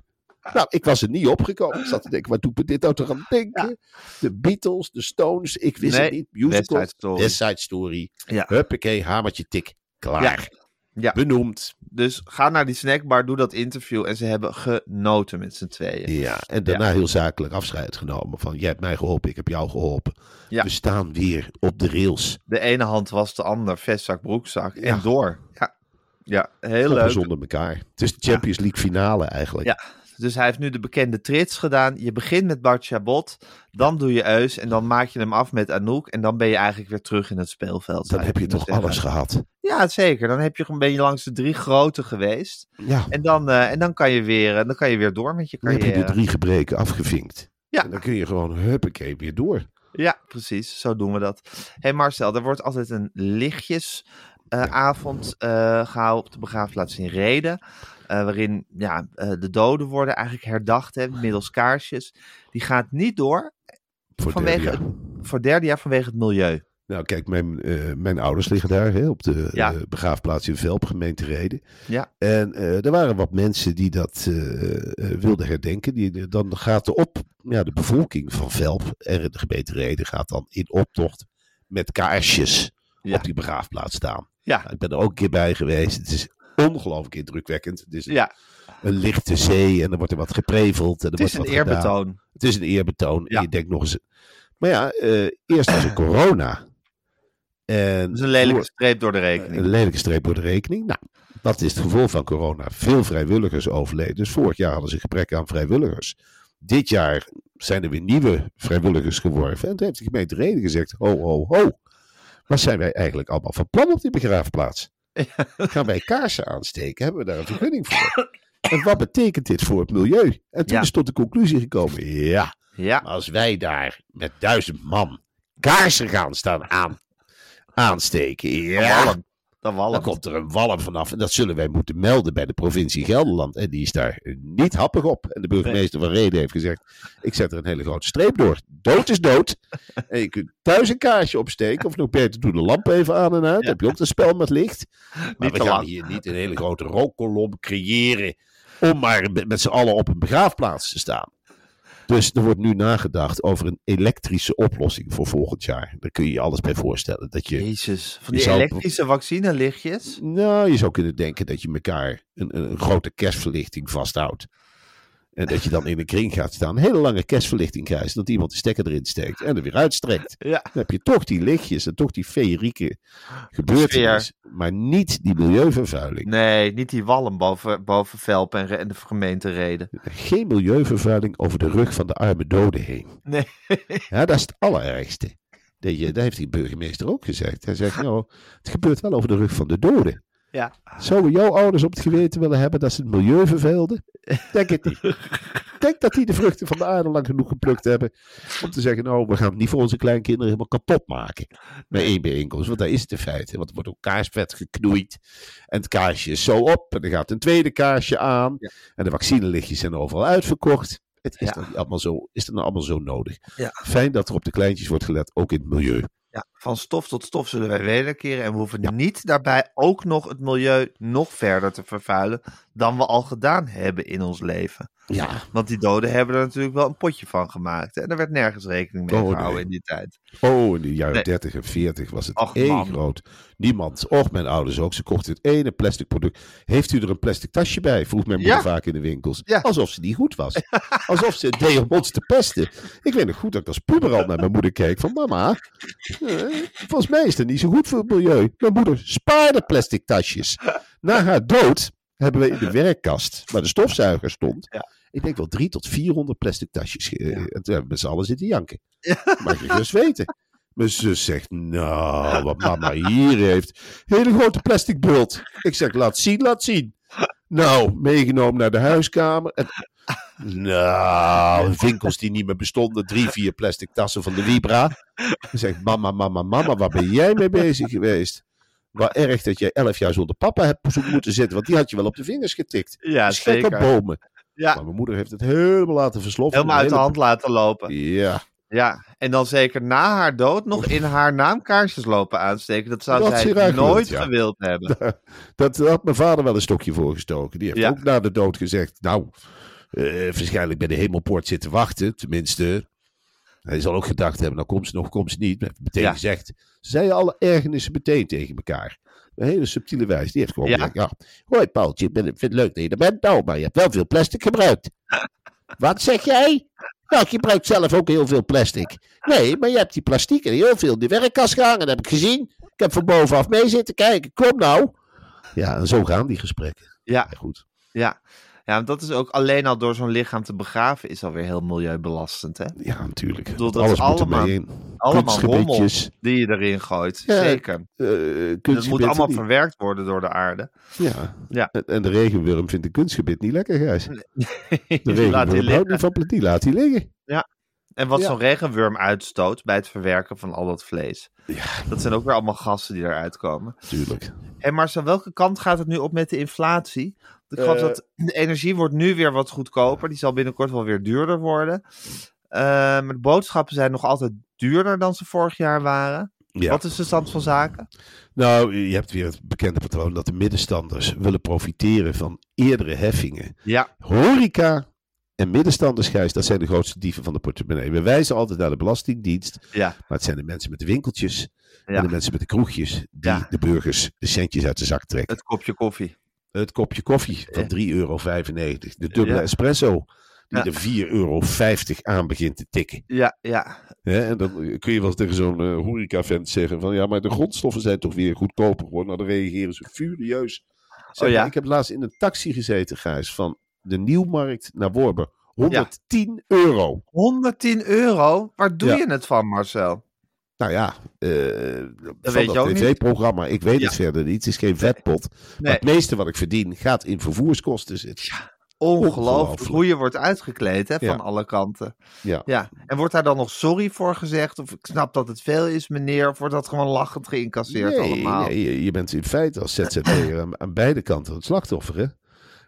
Speaker 3: Nou, ik was er niet opgekomen. Ik zat te denken, wat doet me dit nou toch aan denken? De Beatles, de Stones, ik wist
Speaker 2: Nee,
Speaker 3: het niet.
Speaker 2: West Side
Speaker 3: Musicals,
Speaker 2: Story.
Speaker 3: West Side Story.
Speaker 2: Ja.
Speaker 3: Huppakee, hamertje tik, klaar.
Speaker 2: Ja. Ja.
Speaker 3: benoemd.
Speaker 2: Dus ga naar die snackbar, doe dat interview. En ze hebben genoten met z'n tweeën.
Speaker 3: Ja, en daarna heel zakelijk afscheid genomen van jij hebt mij geholpen, ik heb jou geholpen.
Speaker 2: Ja.
Speaker 3: We staan weer op de rails.
Speaker 2: De ene hand was de ander, vestzak, broekzak.
Speaker 3: Ja.
Speaker 2: En door. Ja, ja heel
Speaker 3: Helemaal
Speaker 2: leuk.
Speaker 3: zonder elkaar. Het is de Champions League finale eigenlijk.
Speaker 2: Ja, dus hij heeft nu de bekende trits gedaan. Je begint met Bart Chabot, dan doe je Eus en dan maak je hem af met Anouk. En dan ben je eigenlijk weer terug in het speelveld. zou
Speaker 3: Dan heb je
Speaker 2: kunnen
Speaker 3: toch
Speaker 2: zeggen.
Speaker 3: alles gehad.
Speaker 2: Ja, zeker. Dan heb je, ben je langs de drie grote geweest.
Speaker 3: Ja,
Speaker 2: En dan, eh, en dan, kan, je weer, eh, dan kan je weer door met je
Speaker 3: dan heb
Speaker 2: carrière.
Speaker 3: je de drie gebreken afgevinkt.
Speaker 2: Ja.
Speaker 3: En dan kun je gewoon huppakee weer door.
Speaker 2: Ja, precies. Zo doen we dat. Hé hey Marcel, er wordt altijd een lichtjesavond eh, gehouden op de begraafplaats in Reden. eh, waarin ja, eh, de doden worden eigenlijk herdacht hè, middels kaarsjes. Die gaat niet door
Speaker 3: Voor
Speaker 2: vanwege,
Speaker 3: derde jaar.
Speaker 2: het- voor derde jaar vanwege het milieu.
Speaker 3: Nou, kijk, mijn, eh, mijn ouders liggen daar hè, op de
Speaker 2: Ja.
Speaker 3: eh, begraafplaats in Velp, gemeente Reden.
Speaker 2: Ja.
Speaker 3: En eh, er waren wat mensen die dat eh, eh, wilden herdenken. Die, dan gaat er op, ja, de bevolking van Velp en de gemeente Reden gaat dan in optocht met kaarsjes
Speaker 2: Ja.
Speaker 3: op die begraafplaats staan.
Speaker 2: Ja.
Speaker 3: Nou, ik ben er ook een keer bij geweest. Het is ongelooflijk indrukwekkend. Het is een,
Speaker 2: Ja,
Speaker 3: een lichte zee en er wordt er wat gepreveld. En er
Speaker 2: het is een
Speaker 3: wordt wat gedaan.
Speaker 2: eerbetoon.
Speaker 3: Het is een eerbetoon.
Speaker 2: Ja.
Speaker 3: En je denkt nog eens. Maar ja, eh, eerst was er corona. En
Speaker 2: Dat is een lelijke
Speaker 3: door-
Speaker 2: streep door de rekening.
Speaker 3: een lelijke streep door de rekening. Nou, dat is het gevolg van corona. Veel vrijwilligers overleden. Dus vorig jaar hadden ze gebrek aan vrijwilligers. Dit jaar zijn er weer nieuwe vrijwilligers geworven. En toen heeft de gemeente Reden gezegd: ho, ho, ho. Wat zijn wij eigenlijk allemaal van plan op die begraafplaats? Gaan wij kaarsen aansteken? Hebben we daar een vergunning voor? En wat betekent dit voor het milieu? En toen
Speaker 2: Ja.
Speaker 3: is tot de conclusie gekomen: ja,
Speaker 2: Ja,
Speaker 3: maar als wij daar met duizend man kaarsen gaan staan aan, aansteken,
Speaker 2: dan
Speaker 3: eh, ja,
Speaker 2: wallen. Dan wallen.
Speaker 3: dan komt er een walm vanaf. En dat zullen wij moeten melden bij de provincie Gelderland. En die is daar niet happig op. En de burgemeester van Reden heeft gezegd, ik zet er een hele grote streep door. Dood is dood. En je kunt thuis een kaarsje opsteken. Of nog beter, doe de lamp even aan en uit. Dan heb je ook dat spel met licht. Maar we
Speaker 2: te
Speaker 3: gaan
Speaker 2: lang.
Speaker 3: hier niet een hele grote rookkolom creëren. Om maar met- met z'n allen op een begraafplaats te staan. Dus er wordt nu nagedacht over een elektrische oplossing voor volgend jaar. Daar kun je je alles bij voorstellen. Dat je
Speaker 2: Jezus, van
Speaker 3: Je
Speaker 2: die
Speaker 3: zou-
Speaker 2: elektrische vaccinelichtjes.
Speaker 3: nou, je zou kunnen denken dat je elkaar een, een, een grote kerstverlichting vasthoudt. En dat je dan in een kring gaat staan, een hele lange kerstverlichting krijgt. Dat iemand de stekker erin steekt en er weer uitstrekt.
Speaker 2: Ja.
Speaker 3: Dan heb je toch die lichtjes en toch die feerieke gebeurtenis. Maar niet die milieuvervuiling.
Speaker 2: Nee, niet die wallen boven, boven Velp en, re- en de gemeente Reden.
Speaker 3: Geen milieuvervuiling over de rug van de arme doden heen.
Speaker 2: Nee.
Speaker 3: Ja, dat is het allerergste. Dat, je, dat heeft die burgemeester ook gezegd. Hij zegt, nou, het gebeurt wel over de rug van de doden.
Speaker 2: Ja.
Speaker 3: Zouden jouw ouders op het geweten willen hebben dat ze het milieu verveelden? Denk het niet. Ik Denk dat die de vruchten van de aarde lang genoeg geplukt hebben. Om te zeggen, nou, we gaan het niet voor onze kleinkinderen helemaal kapot maken. Bij één bijeenkomst. Want dat is het in feite. Want er wordt ook kaarsvet geknoeid. En het kaarsje is zo op. En er gaat een tweede kaarsje aan.
Speaker 2: Ja.
Speaker 3: En de vaccinelichtjes zijn overal uitverkocht. Het is,
Speaker 2: Ja.
Speaker 3: dan niet allemaal zo, is dan allemaal zo nodig.
Speaker 2: Ja.
Speaker 3: Fijn dat er op de kleintjes wordt gelet, ook in het milieu.
Speaker 2: Ja, van stof tot stof zullen wij wederkeren. En we hoeven niet daarbij ook nog het milieu nog verder te vervuilen dan we al gedaan hebben in ons leven.
Speaker 3: Ja,
Speaker 2: Want die doden hebben er natuurlijk wel een potje van gemaakt. hè. En er werd nergens rekening mee
Speaker 3: Oh, nee.
Speaker 2: gehouden in die tijd.
Speaker 3: Oh, in de jaren
Speaker 2: Nee.
Speaker 3: 30 en 40 was het
Speaker 2: Och,
Speaker 3: één
Speaker 2: man.
Speaker 3: groot. Niemand, och mijn ouders ook, ze kochten het ene plastic product. Heeft u er een plastic tasje bij? Vroeg mijn moeder
Speaker 2: Ja.
Speaker 3: vaak in de winkels.
Speaker 2: Ja.
Speaker 3: Alsof ze niet goed was. Alsof ze het deed om ons te pesten. Ik weet nog goed dat ik als puber al naar mijn moeder keek van mama, eh, volgens mij is dat niet zo goed voor het milieu. Mijn moeder spaarde plastic tasjes. Na haar dood hebben we in de werkkast, waar de stofzuiger stond,
Speaker 2: Ja.
Speaker 3: ik denk wel drie tot 400 plastic tasjes. ge- eh, En toen hebben we met z'n allen zitten janken. Mag je gerust weten. Mijn zus zegt, nou, wat mama hier heeft. Hele grote plastic bult. Ik zeg, laat zien, laat zien. Nou, meegenomen naar de huiskamer. En, nou, winkels die niet meer bestonden. Drie, vier plastic tassen van de Libra. Ik zeg, mama, mama, mama, waar ben jij mee bezig geweest? Wat erg dat jij elf jaar zonder papa hebt zo- moeten zitten. Want die had je wel op de vingers getikt.
Speaker 2: Ja,
Speaker 3: Schekke
Speaker 2: zeker.
Speaker 3: bomen.
Speaker 2: Ja,
Speaker 3: Maar mijn moeder heeft het helemaal laten versloffen.
Speaker 2: helemaal uit de hand laten lopen.
Speaker 3: Ja,
Speaker 2: Ja, en dan zeker na haar dood nog in haar naam kaarsjes lopen aansteken. Dat zou
Speaker 3: Dat is hier
Speaker 2: zij
Speaker 3: eigenlijk
Speaker 2: nooit
Speaker 3: gewild, ja.
Speaker 2: gewild hebben.
Speaker 3: dat daar had mijn vader wel een stokje voor gestoken. Die heeft
Speaker 2: Ja.
Speaker 3: ook na de dood gezegd, nou, eh, waarschijnlijk bij de hemelpoort zitten wachten. Tenminste, Hij zal ook gedacht hebben, nou komt ze nog, komt ze niet. Maar meteen
Speaker 2: Ja.
Speaker 3: gezegd. Ze zeiden alle ergernissen meteen tegen elkaar. Een hele subtiele wijze. Die heeft gewoon
Speaker 2: Ja.
Speaker 3: gezegd, ja. Hoi Paultje, ik ben- vind het leuk dat je er bent. Nou, maar je hebt wel veel plastic gebruikt. Wat zeg jij? Nou, ik gebruik zelf ook heel veel plastic. Nee, maar je hebt die plastiek en heel veel in de werkkast gehangen. Dat heb ik gezien. Ik heb van bovenaf mee zitten kijken. Kom nou. Ja, en zo gaan die gesprekken.
Speaker 2: Ja,
Speaker 3: Ja, goed.
Speaker 2: ja. Ja, want dat is ook alleen al door zo'n lichaam te begraven is alweer heel milieubelastend, hè?
Speaker 3: Ja, natuurlijk.
Speaker 2: bedoel,
Speaker 3: Want
Speaker 2: dat is
Speaker 3: alles moet
Speaker 2: allemaal-
Speaker 3: ermee in.
Speaker 2: Allemaal rommel
Speaker 3: Kunstgebitjes,
Speaker 2: die je erin gooit,
Speaker 3: Ja,
Speaker 2: zeker. Dus
Speaker 3: eh,
Speaker 2: Het moet
Speaker 3: kunstgebitten
Speaker 2: allemaal
Speaker 3: niet.
Speaker 2: verwerkt worden door de aarde.
Speaker 3: Ja.
Speaker 2: Ja.
Speaker 3: En, en de regenworm vindt een kunstgebit niet lekker, Gijs. De
Speaker 2: Die Dus laat die
Speaker 3: regenworm houdt
Speaker 2: liggen.
Speaker 3: niet van pla- die laat hij liggen.
Speaker 2: En wat
Speaker 3: Ja.
Speaker 2: zo'n regenworm uitstoot bij het verwerken van al dat vlees.
Speaker 3: Ja,
Speaker 2: Dat zijn ook weer allemaal gassen die eruit komen.
Speaker 3: natuurlijk.
Speaker 2: Hé Marcel, welke kant gaat het nu op met de inflatie? Ik
Speaker 3: Eh.
Speaker 2: geloof dat de energie wordt nu weer wat goedkoper. Die zal binnenkort wel weer duurder worden. Eh, maar de boodschappen zijn nog altijd duurder dan ze vorig jaar waren.
Speaker 3: Ja.
Speaker 2: Wat is de stand van zaken?
Speaker 3: Nou, je hebt weer het bekende patroon dat de middenstanders willen profiteren van eerdere heffingen.
Speaker 2: Ja,
Speaker 3: Horeca en middenstanders, Gijs, dat zijn de grootste dieven van de portemonnee. We wijzen altijd naar de Belastingdienst,
Speaker 2: ja,
Speaker 3: maar het zijn de mensen met de winkeltjes en de
Speaker 2: ja.
Speaker 3: mensen met de kroegjes die
Speaker 2: Ja.
Speaker 3: de burgers de centjes uit de zak trekken.
Speaker 2: Het kopje koffie.
Speaker 3: Het kopje koffie van
Speaker 2: Ja.
Speaker 3: 3,95 euro. De dubbele
Speaker 2: Ja.
Speaker 3: espresso. Die
Speaker 2: Ja.
Speaker 3: er 4,50 euro aan begint te tikken.
Speaker 2: Ja, ja.
Speaker 3: Hè, en dan kun je wel eens tegen zo'n eh, horecavent zeggen van... ja, maar de grondstoffen zijn toch weer goedkoper geworden. Nou, dan reageren ze furieus. Zeg
Speaker 2: Oh ja?
Speaker 3: maar, ik heb laatst in een taxi gezeten, Gijs, van de Nieuwmarkt naar Worber. 110 euro.
Speaker 2: 110 euro? Waar doe
Speaker 3: Ja.
Speaker 2: je het van, Marcel?
Speaker 3: Nou ja, eh
Speaker 2: Dat
Speaker 3: van
Speaker 2: weet je
Speaker 3: dat
Speaker 2: ook niet.
Speaker 3: tv-programma. Ik weet
Speaker 2: Ja.
Speaker 3: het verder niet. Het is geen vetpot. Maar
Speaker 2: Nee.
Speaker 3: het meeste wat ik verdien gaat in vervoerskosten zitten.
Speaker 2: Ongelooflijk
Speaker 3: Ongelooflijk.
Speaker 2: hoe je wordt uitgekleed hè,
Speaker 3: Ja.
Speaker 2: van alle kanten.
Speaker 3: Ja.
Speaker 2: Ja. En wordt daar dan nog sorry voor gezegd? Of ik snap dat het veel is, meneer? Of wordt dat gewoon lachend geïncasseerd
Speaker 3: nee,
Speaker 2: allemaal?
Speaker 3: nee, je, je bent in feite als ZZP'er aan, aan beide kanten het slachtoffer. Hè?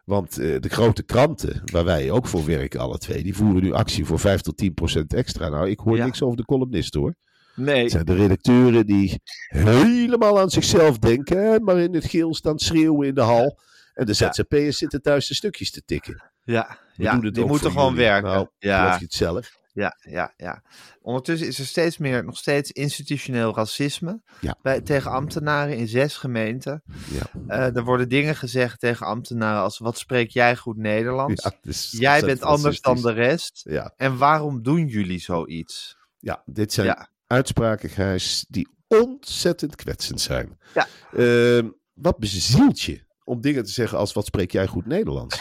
Speaker 3: Want eh, de grote kranten, waar wij ook voor werken alle twee, die voeren nu actie voor 5 tot 10 extra. Nou, ik hoor
Speaker 2: Ja.
Speaker 3: niks over de columnisten hoor.
Speaker 2: Nee.
Speaker 3: Het zijn de redacteuren die helemaal aan zichzelf denken, hè, maar in het geel staan schreeuwen in de hal. En de
Speaker 2: Ja.
Speaker 3: ZZP'ers zitten thuis de stukjes te tikken.
Speaker 2: Ja,
Speaker 3: We
Speaker 2: ja
Speaker 3: doen het
Speaker 2: die
Speaker 3: ook
Speaker 2: moeten
Speaker 3: voor
Speaker 2: gewoon
Speaker 3: jullie.
Speaker 2: werken.
Speaker 3: Nou, geloof
Speaker 2: ja,
Speaker 3: je het zelf?
Speaker 2: ja, ja, ja. Ondertussen is er steeds meer, nog steeds institutioneel racisme
Speaker 3: Ja.
Speaker 2: bij, tegen ambtenaren in zes gemeenten.
Speaker 3: Ja.
Speaker 2: Eh, er worden dingen gezegd tegen ambtenaren als: wat spreek jij goed Nederlands?
Speaker 3: Ja, het is
Speaker 2: jij bent
Speaker 3: ontzettend
Speaker 2: anders dan de
Speaker 3: racistisch.
Speaker 2: rest.
Speaker 3: Ja,
Speaker 2: En waarom doen jullie zoiets?
Speaker 3: ja, dit zijn
Speaker 2: Ja.
Speaker 3: uitspraken, Gijs, die ontzettend kwetsend zijn.
Speaker 2: Ja.
Speaker 3: Ehm, wat bezielt je om dingen te zeggen als wat spreek jij goed Nederlands?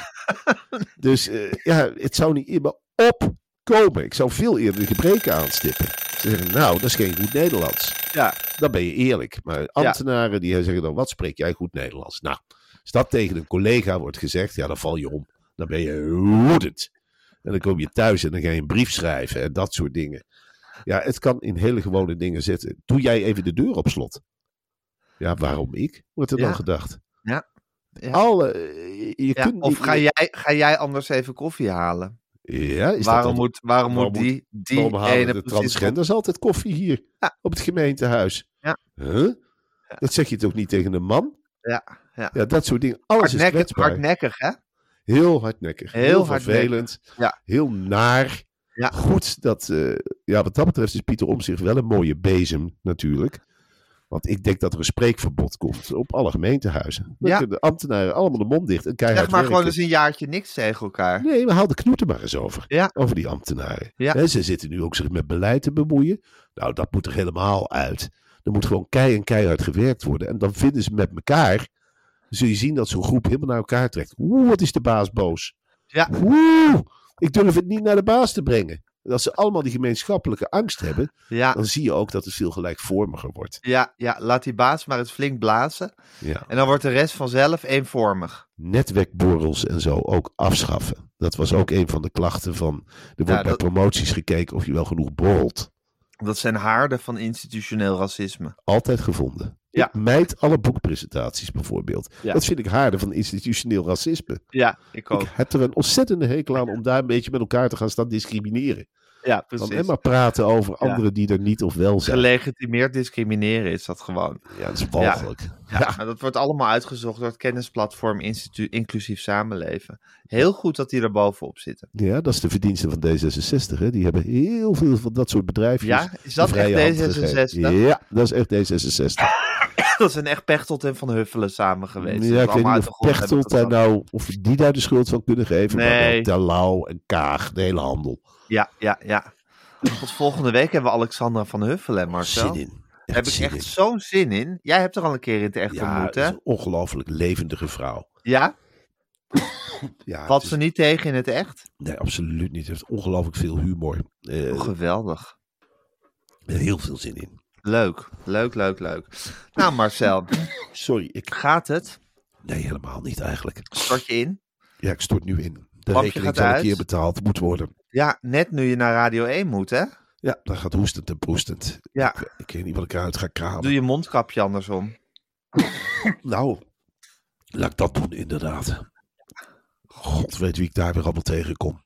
Speaker 3: dus eh, ja, het zou niet in me opkomen. Ik zou veel eerder de gebreken aanstippen. Ze zeggen, nou, dat is geen goed Nederlands.
Speaker 2: Ja,
Speaker 3: Dan ben je eerlijk. Maar ambtenaren die zeggen dan, wat spreek jij goed Nederlands? Nou, als dat tegen een collega wordt gezegd, ja, dan val je om. Dan ben je woedend. En dan kom je thuis en dan ga je een brief schrijven en dat soort dingen. Ja, het kan in hele gewone dingen zitten. Doe jij even de deur op slot? Ja, waarom ik? Wordt er
Speaker 2: Ja.
Speaker 3: dan gedacht?
Speaker 2: Ja. Ja.
Speaker 3: Alle, eh, je
Speaker 2: Ja,
Speaker 3: kunt
Speaker 2: of
Speaker 3: niet
Speaker 2: ga
Speaker 3: meer-
Speaker 2: jij, ga jij anders even koffie halen?
Speaker 3: Ja,
Speaker 2: Waarom
Speaker 3: is dat dan-
Speaker 2: moet, waarom
Speaker 3: waarom
Speaker 2: moet die, die
Speaker 3: waarom halen
Speaker 2: ene
Speaker 3: de
Speaker 2: precies-
Speaker 3: transgenders altijd koffie hier?
Speaker 2: Ja.
Speaker 3: Op het gemeentehuis.
Speaker 2: Ja.
Speaker 3: Huh? Dat zeg je toch niet tegen een man?
Speaker 2: Ja, ja.
Speaker 3: Ja, dat soort dingen. Alles is dus
Speaker 2: hardnekkig,
Speaker 3: kwetsbaar.
Speaker 2: hardnekkig, hè?
Speaker 3: Heel hardnekkig. Heel,
Speaker 2: Heel hardnekkig.
Speaker 3: vervelend.
Speaker 2: Ja.
Speaker 3: Heel naar.
Speaker 2: Ja.
Speaker 3: Goed dat, eh, ja, wat dat betreft is Pieter Omtzigt wel een mooie bezem natuurlijk. Want ik denk dat er een spreekverbod komt op alle gemeentehuizen. Dan
Speaker 2: Ja.
Speaker 3: kunnen de ambtenaren allemaal de mond dicht en keihard
Speaker 2: Zeg maar gewoon eens
Speaker 3: werken.
Speaker 2: een jaartje niks tegen elkaar.
Speaker 3: Nee, we haal de knoeten maar eens over.
Speaker 2: Ja.
Speaker 3: Over die ambtenaren.
Speaker 2: Ja.
Speaker 3: Hè, ze zitten nu ook zich met beleid te bemoeien. Nou, dat moet er helemaal uit. Er moet gewoon kei en keihard gewerkt worden. En dan vinden ze met elkaar. Zul je zien dat zo'n groep helemaal naar elkaar trekt. Oeh, wat is de baas boos?
Speaker 2: Ja.
Speaker 3: Oeh, ik durf het niet naar de baas te brengen. En als ze allemaal die gemeenschappelijke angst hebben,
Speaker 2: Ja,
Speaker 3: dan zie je ook dat het veel gelijkvormiger wordt.
Speaker 2: ja, ja, laat die baas maar eens flink blazen.
Speaker 3: Ja.
Speaker 2: En dan wordt de rest vanzelf eenvormig.
Speaker 3: Netwerkborrels en zo ook afschaffen. Dat was ook een van de klachten van. Er wordt
Speaker 2: Ja,
Speaker 3: bij
Speaker 2: dat-
Speaker 3: promoties gekeken of je wel genoeg borrelt.
Speaker 2: Dat zijn haarden van institutioneel racisme.
Speaker 3: altijd gevonden.
Speaker 2: Ja.
Speaker 3: Ik mijd alle boekpresentaties bijvoorbeeld.
Speaker 2: Ja.
Speaker 3: Dat vind ik haarden van institutioneel racisme.
Speaker 2: Ja, ik ook.
Speaker 3: Ik heb er een ontzettende hekel aan om daar een beetje met elkaar te gaan staan discrimineren.
Speaker 2: Ja,
Speaker 3: Dan
Speaker 2: precies.
Speaker 3: en maar praten over anderen die er niet of wel zijn.
Speaker 2: Gelegitimeerd discrimineren is dat gewoon.
Speaker 3: Ja, dat is walgelijk.
Speaker 2: Ja, maar dat wordt allemaal uitgezocht door het kennisplatform Instituut Inclusief Samenleven. Heel goed dat die er bovenop zitten.
Speaker 3: Ja. dat is de verdienste van D66. Hè. Die hebben heel veel van dat soort bedrijfjes.
Speaker 2: Ja, is dat
Speaker 3: de vrije
Speaker 2: echt
Speaker 3: hand gegeven.
Speaker 2: D66?
Speaker 3: Ja, dat is echt D66.
Speaker 2: Dat zijn echt Pechtold en Van Huffelen samen geweest. Dat
Speaker 3: ja, ik weet
Speaker 2: allemaal
Speaker 3: niet
Speaker 2: uit
Speaker 3: of
Speaker 2: de grond hebben
Speaker 3: Pechtold daar
Speaker 2: getrokken.
Speaker 3: nou, of we die daar de schuld van kunnen geven. Maar wel
Speaker 2: Nee.
Speaker 3: Terlouw en Kaag, de hele handel.
Speaker 2: Ja,
Speaker 3: eh,
Speaker 2: ja, ja. Tot volgende week hebben we Alexandra Van Huffelen en Marcel.
Speaker 3: Zin in.
Speaker 2: Daar heb ik
Speaker 3: zin
Speaker 2: echt
Speaker 3: in.
Speaker 2: zo'n zin in. Jij hebt er al een keer in het echt
Speaker 3: Ja,
Speaker 2: ontmoet,
Speaker 3: dat
Speaker 2: hè?
Speaker 3: is een ongelooflijk levendige vrouw.
Speaker 2: Ja?
Speaker 3: Ja,
Speaker 2: Valt
Speaker 3: het is-
Speaker 2: ze niet tegen in het echt?
Speaker 3: Nee, absoluut niet. Ze heeft ongelooflijk veel humor. Eh,
Speaker 2: Oh, geweldig.
Speaker 3: heel veel zin in.
Speaker 2: Leuk, leuk, leuk, leuk. Nou Marcel,
Speaker 3: Sorry, ik...
Speaker 2: gaat het?
Speaker 3: Nee, helemaal niet eigenlijk.
Speaker 2: Stort je in?
Speaker 3: Ja, ik stort nu in. De
Speaker 2: Lampje
Speaker 3: rekening
Speaker 2: gaat
Speaker 3: zal een
Speaker 2: uit.
Speaker 3: keer betaald moeten worden.
Speaker 2: Ja, net nu je naar Radio 1 moet, hè?
Speaker 3: Ja, dan gaat hoestend en proestend.
Speaker 2: Ja.
Speaker 3: Ik, eh, ik weet niet wat ik eruit ga kramen.
Speaker 2: Doe je mondkapje andersom.
Speaker 3: Nou, laat ik dat doen inderdaad. God weet wie ik daar weer allemaal tegenkom.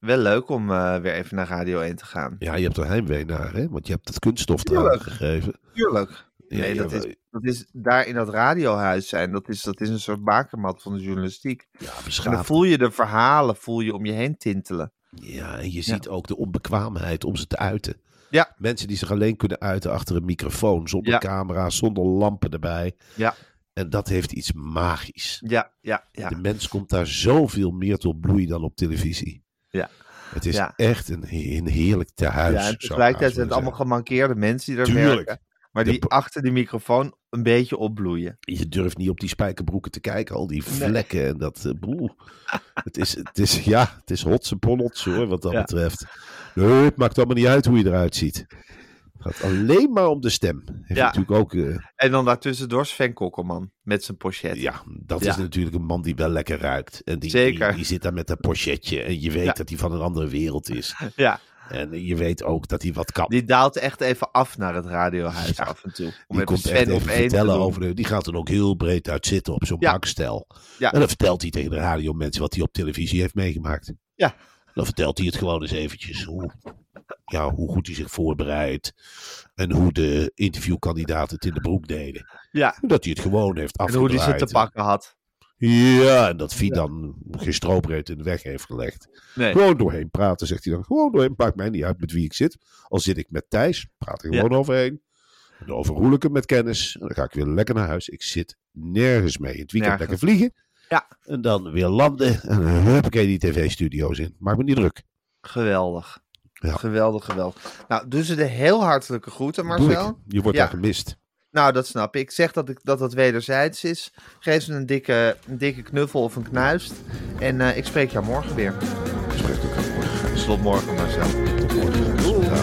Speaker 2: Wel leuk om eh, weer even naar Radio 1 te gaan.
Speaker 3: Ja, je hebt er heimwee naar, hè? Want je hebt het kunststof
Speaker 2: Tuurlijk.
Speaker 3: eraan gegeven.
Speaker 2: Tuurlijk.
Speaker 3: Ja,
Speaker 2: nee,
Speaker 3: ja,
Speaker 2: dat,
Speaker 3: wel-
Speaker 2: is, dat is daar in dat radiohuis zijn. Dat is, dat is een soort bakermat van de journalistiek.
Speaker 3: Ja,
Speaker 2: En dan
Speaker 3: beschaafd.
Speaker 2: voel je de verhalen voel je om je heen tintelen.
Speaker 3: Ja, en je ziet ook de onbekwaamheid om ze te uiten.
Speaker 2: Ja.
Speaker 3: Mensen die zich alleen kunnen uiten achter een microfoon. Zonder
Speaker 2: Ja.
Speaker 3: camera, zonder lampen erbij.
Speaker 2: Ja.
Speaker 3: En dat heeft iets magisch.
Speaker 2: Ja, ja, ja.
Speaker 3: De mens komt daar zoveel meer tot bloei dan op televisie.
Speaker 2: Ja.
Speaker 3: Het is
Speaker 2: Ja.
Speaker 3: echt een, he- een heerlijk tehuis.
Speaker 2: ja
Speaker 3: zou
Speaker 2: en
Speaker 3: ik
Speaker 2: tegelijkertijd
Speaker 3: haast
Speaker 2: zijn het
Speaker 3: willen
Speaker 2: allemaal gemankeerde mensen die er
Speaker 3: Tuurlijk.
Speaker 2: werken. Maar
Speaker 3: De
Speaker 2: die
Speaker 3: bo-
Speaker 2: achter die microfoon een beetje opbloeien.
Speaker 3: zeggen. Je durft niet op die spijkerbroeken te kijken. Al die vlekken en dat eh, boel. het, is, het is, ja, het is hotse ponnels hoor, wat dat
Speaker 2: Ja.
Speaker 3: betreft. Nee, het maakt allemaal niet uit hoe je eruit ziet. Het gaat alleen maar om de stem. Heeft
Speaker 2: Ja.
Speaker 3: natuurlijk ook, eh,
Speaker 2: En dan daartussendoor Sven Kokkelman met zijn pochet.
Speaker 3: ja, dat
Speaker 2: Ja.
Speaker 3: is natuurlijk een man die wel lekker ruikt. En die,
Speaker 2: Zeker.
Speaker 3: Die, die zit daar met een pochetje. En je weet
Speaker 2: Ja.
Speaker 3: dat hij van een andere wereld is.
Speaker 2: Ja,
Speaker 3: En je weet ook dat hij wat kan.
Speaker 2: die daalt echt even af naar het radiohuis af en toe. Om
Speaker 3: Die
Speaker 2: even
Speaker 3: komt echt
Speaker 2: Sven op
Speaker 3: even
Speaker 2: één te
Speaker 3: vertellen
Speaker 2: doen.
Speaker 3: over de, Die gaat er ook heel breed uit zitten op zo'n
Speaker 2: Ja.
Speaker 3: bankstel.
Speaker 2: Ja.
Speaker 3: En dan vertelt hij tegen de radio mensen wat hij op televisie heeft meegemaakt.
Speaker 2: Ja.
Speaker 3: Dan vertelt hij het gewoon eens eventjes. Hoe, ja, hoe goed hij zich voorbereidt. En hoe de interviewkandidaten het in de broek deden.
Speaker 2: Ja,
Speaker 3: En Dat hij het gewoon heeft
Speaker 2: en hoe
Speaker 3: afgedraaid.
Speaker 2: die ze te pakken had.
Speaker 3: Ja, en dat Vie dan geen stroopreed in de weg heeft gelegd.
Speaker 2: Nee.
Speaker 3: Gewoon doorheen praten, zegt hij dan. Gewoon doorheen, maakt mij niet uit met wie ik zit. Al zit ik met Thijs, praat ik
Speaker 2: Ja.
Speaker 3: gewoon overheen. En dan overroel ik hem met kennis. En dan ga ik weer lekker naar huis. Ik zit nergens mee. In het weekend
Speaker 2: Nergens.
Speaker 3: lekker vliegen.
Speaker 2: Ja.
Speaker 3: En dan weer landen. En dan huppakee die tv-studio's in. Maak me niet druk.
Speaker 2: Geweldig.
Speaker 3: Ja.
Speaker 2: Geweldig, geweldig. Nou, doen ze de heel hartelijke groeten,
Speaker 3: Doe
Speaker 2: Marcel.
Speaker 3: ik. Je wordt
Speaker 2: Ja.
Speaker 3: daar gemist.
Speaker 2: Nou, dat snap ik. Ik zeg dat ik, dat, dat wederzijds is. Geef ze een dikke, een dikke knuffel of een knuist. En eh, ik spreek jou morgen weer.
Speaker 3: Spreekt ook aan morgen.
Speaker 2: Tot morgen, Marcel.
Speaker 3: Tot morgen. Ja.